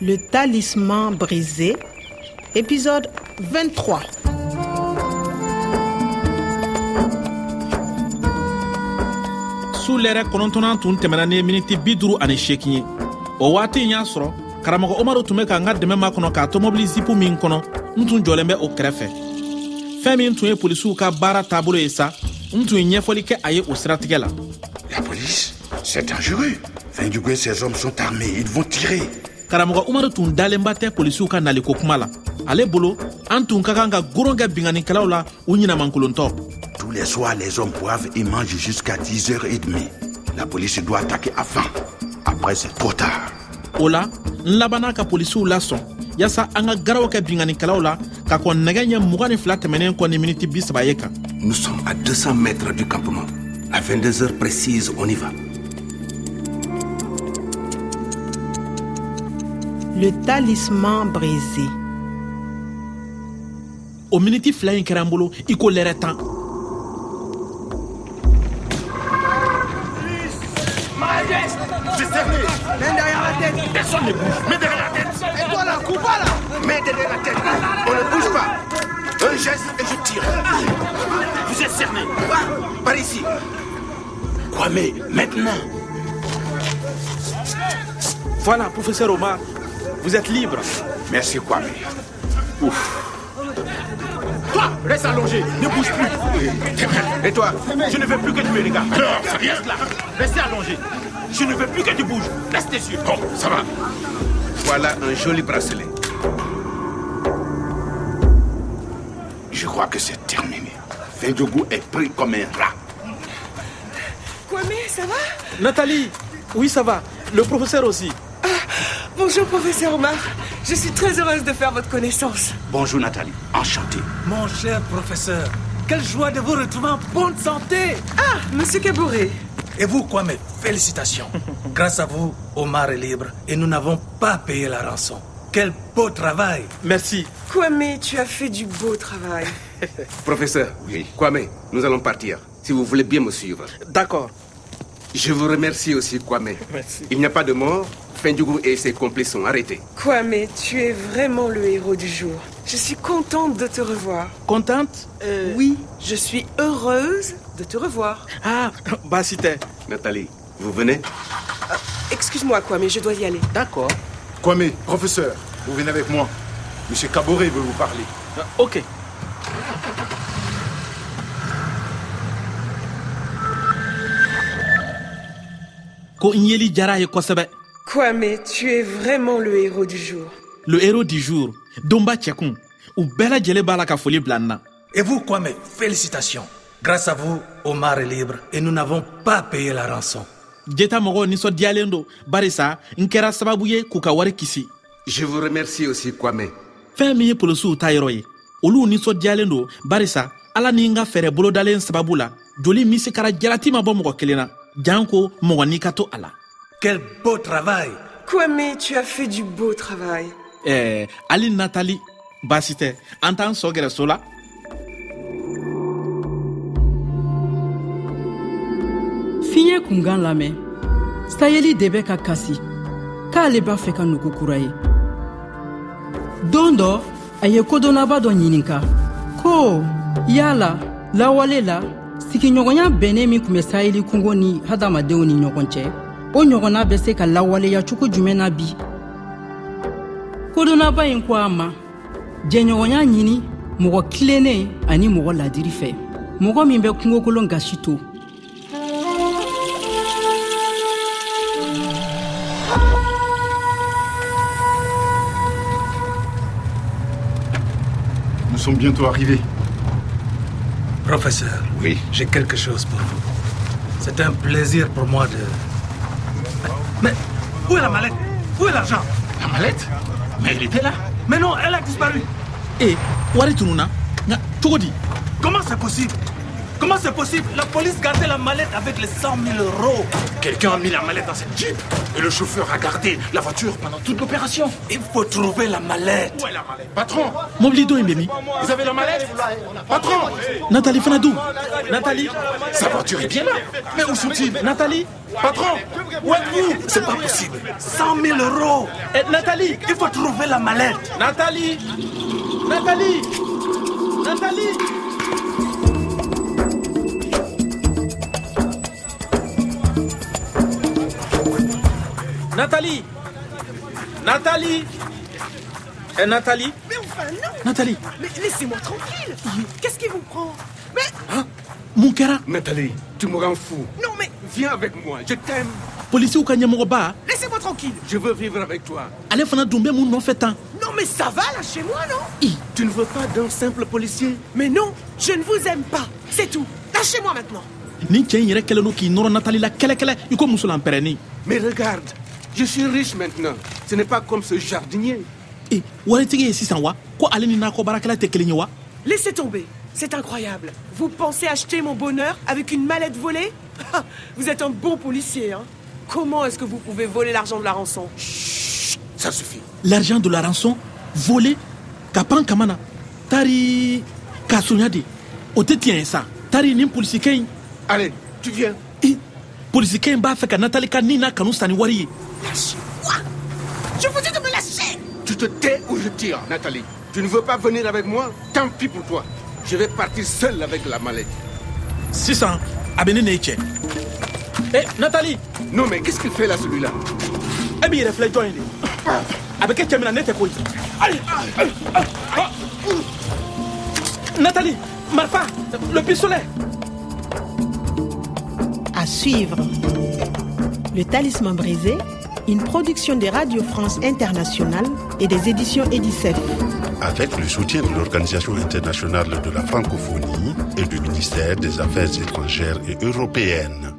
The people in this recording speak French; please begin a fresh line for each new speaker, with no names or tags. Le talisman brisé, épisode 23.
su lɛrɛ kɔnɔntɔnan tun tɛmɛna ni miniti bi duru ani seegin ye o waati in y'a sɔrɔ karamɔgɔ omaru tun bɛ ka n ka dɛmɛ makɔnɔ k'a tɔmɔbili zipu min kɔnɔ n tun jɔlen bɛ o kɛrɛfɛ fɛn min tun ye polisiw ka baara taabolo ye sa n tun ye ɲɛfɔli kɛ a ye o siratigɛ la
La police C'est dangereux. Hein, Fendugo et ses hommes sont armés. Ils vont tirer.
karamɔgɔ umaru tun dalenba tɛ polisiw ka naliko kuma la ale bolo an tun ka kan ka goron kɛ binganikɛlaw la u ɲinamankolontɔ
Tous les soirs, les hommes boivent et mangent jusqu'à 10h30. La police doit attaquer avant. Après, c'est trop tard.
o la n labanna ka polisiw lasɔn yaasa an ka garaw kɛ binganikɛlaw la ka kɔn nɛgɛ ɲɛ mugan ni fila tɛmɛnen kɔ ni miniti bi saba ye kan
Nous sommes à 200 mètres du campement. À 22 heures précises, on y va.
Le talisman brisé.
o miniti fila ɲi kɛra n bolo i ko lɛrɛ tan
Mets derrière la tête. On ne bouge pas. Un geste et je tire. Vous êtes cerné. Par ici. Quoi, mais maintenant
voilà professeur omar vous êtes libre
Merci, Kwame. Ouf. Toi, reste allongé, ne bouge plus. Et toi
Je ne veux plus que tu me regardes.
Alors, ça vient
Reste là. Restez allongé. Je ne veux plus que tu bouges. Restez sûr.
Bon, ça va. Voilà un joli bracelet. Je crois que c'est terminé. Fendjougou est pris comme un rat.
Kwame, ça va
nathalie oui ça va le professeur aussi
Bonjour, professeur Omar. Je suis très heureuse de faire votre connaissance.
Bonjour Nathalie, enchanté.
Mon cher professeur, quelle joie de vous retrouver en bonne santé
Ah, monsieur Caboret.
Et vous, quoi, mes félicitations Grâce à vous, Omar est libre et nous n'avons pas payé la rançon. Quel beau travail
merci
Kwame, tu as fait du beau travail.
Professeur,
Oui.
Kwame, nous allons partir. Si vous voulez bien me suivre.
d'accord
Je vous remercie aussi, Kwame. Il n'y a pas de mort. Fendjougou et ses complices sont arrêtés.
Kwame, tu es vraiment le héros du jour. Je suis contente de te revoir.
contente Euh,
Oui, je suis heureuse de te revoir.
ah basi tɛ
Nathalie, vous venez
Excuse-moi, Kwame, je dois y aller.
d'accord
Kwame, professeur, vous venez avec moi. Monsieur Caboret veut vous parler.
Ah, ok ko n yeli jara a ye kosɛbɛ
Kwame, tu es vraiment le héros du jour.
le héros du jour donba cɛkun u bɛɛ lajɛlen b'a la ka foli bila n na
Et vous, quoi, mes félicitations Grâce à vous, Omar est libre et nous n'avons pas payé la rançon.
jeta mɔgɔw ninsɔndiyalen don barisa n kɛra sababu ye k'u ka wari kisi
Je vous remercie aussi, Kwame.
fɛɛn min ye polisiw ta yɔrɔ ye olu ninsɔndiyalen don barisa ala ni n ka fɛɛrɛ bolodalen sababu la joli min se kɛra jalati ma bɔ mɔgɔ kelen na jan ko mɔgɔ n'i ka to a la
Quel beau travail
Kwame, tu as fait du beau travail.
ɛɛ hali natali baasi tɛ an t'an sɔ gɛrɛ so la
fiɲɛ kunkan lamɛn sayeli de bɛ ka kasi k'ale b'a fɛ ka nugu kura ye don dɔ a ye kodɔnnaba dɔ ɲininka ko yala lawale la sigiɲɔgɔnya bɛnnen min tun bɛ sayeli kungo ni hadamadenw ni ɲɔgɔn cɛ o ɲɔgɔnna bɛ se ka lawaleya cogo jumɛn na bi kodɔnnaba in ko a ma jɛɲɔgɔnya ɲini mɔgɔ kilennen ani mɔgɔ ladiri fɛ mɔgɔ min bɛ kungokolon gasi to
Nous sommes bientôt arrivés.
Professeur,
Oui.
j'ai quelque chose pour vous. C'est un plaisir pour moi de... Mais où est la mallette Où est l'argent
La mallette Mais il était là.
Mais non, elle a disparu
e wari tununna nka cogo di
Comment c'est possible
Comment c'est possible La police gardait la mallette avec les 100 000 euros.
Quelqu'un a mis la mallette dans cette jeep et le chauffeur a gardé la voiture pendant toute l'opération.
Il faut trouver la mallette.
Où est la mallette Patron,
mobili dɔ in bɛ min
vous avez la mallette Patron,
natali fana dun natali
sa voiture est bien là. Mais où sont-ils
natali
Patron, où êtes-vous C'est pas possible.
100 000 euros.
Eh, natali
Il faut trouver la mallette.
natali natali natali natali natali ɛ natali
Mais enfin, non
natali
Mais laissez-moi tranquille Qu'est-ce qui vous prend Mais
mun kɛra
Nathalie, tu me rends fou.
non, mais
Viens avec moi, je t'aime.
polisiw ka ɲɛmɔgɔba
laissez-moi tranquille
Je veux vivre avec toi.
ale fana dun bɛ mun nɔfɛ tan
Non, mais ça va, lâchez-moi, non
Tu ne veux pas d'un simple policier
Mais non, je ne vous aime pas, c'est tout Lâchez-moi maintenant
nin cɛɛ in yɛrɛ kɛlen do k'i nɔrɔ natali la kɛlɛkɛlɛ i ko musolanpɛrɛnnin
Mais regarde, je suis riche maintenant. Ce n'est pas comme ce jardinier.
e waritigi ye sisan wa ko ale ni nakɔ baarakɛla tɛ kelen ye wa
Laissez tomber C'est incroyable Vous pensez acheter mon bonheur avec une mallette volée Ah, Vous êtes un bon policier, hein Comment est-ce que vous pouvez voler l'argent de la rançon
Ça suffit.
l'argent de la rançon volé ka pan kama na tari k'a sonya de o tɛ tiɲɛ ye sa tari nin polisikɛ in
Allez, tu viens.
e polisikɛ in b'a fɛ ka natali ka nin n'a kanu sanni wari ye
Je vous dis de me lâcher
Tu te tais ou je tire, Nathalie. Tu ne veux pas venir avec moi Tant pis pour toi. Je vais partir seul avec la mallette.
sisan a bɛ ne n'e cɛ e natali
Non, mais qu'est-ce qu'il fait là, celui-là
e b'i yɛrɛ filɛ jɔn ye de a bɛ kɛ cɛ min na ne tɛ koyi ayi ayi, ayi, ayi. natali marifa le pistolet
À suivre. Le Talisman brisé, une production de Radio France Internationale et des éditions Edicef.
avec le soutien de l'Organisation internationale de la francophonie et du ministère des Affaires étrangères et européennes.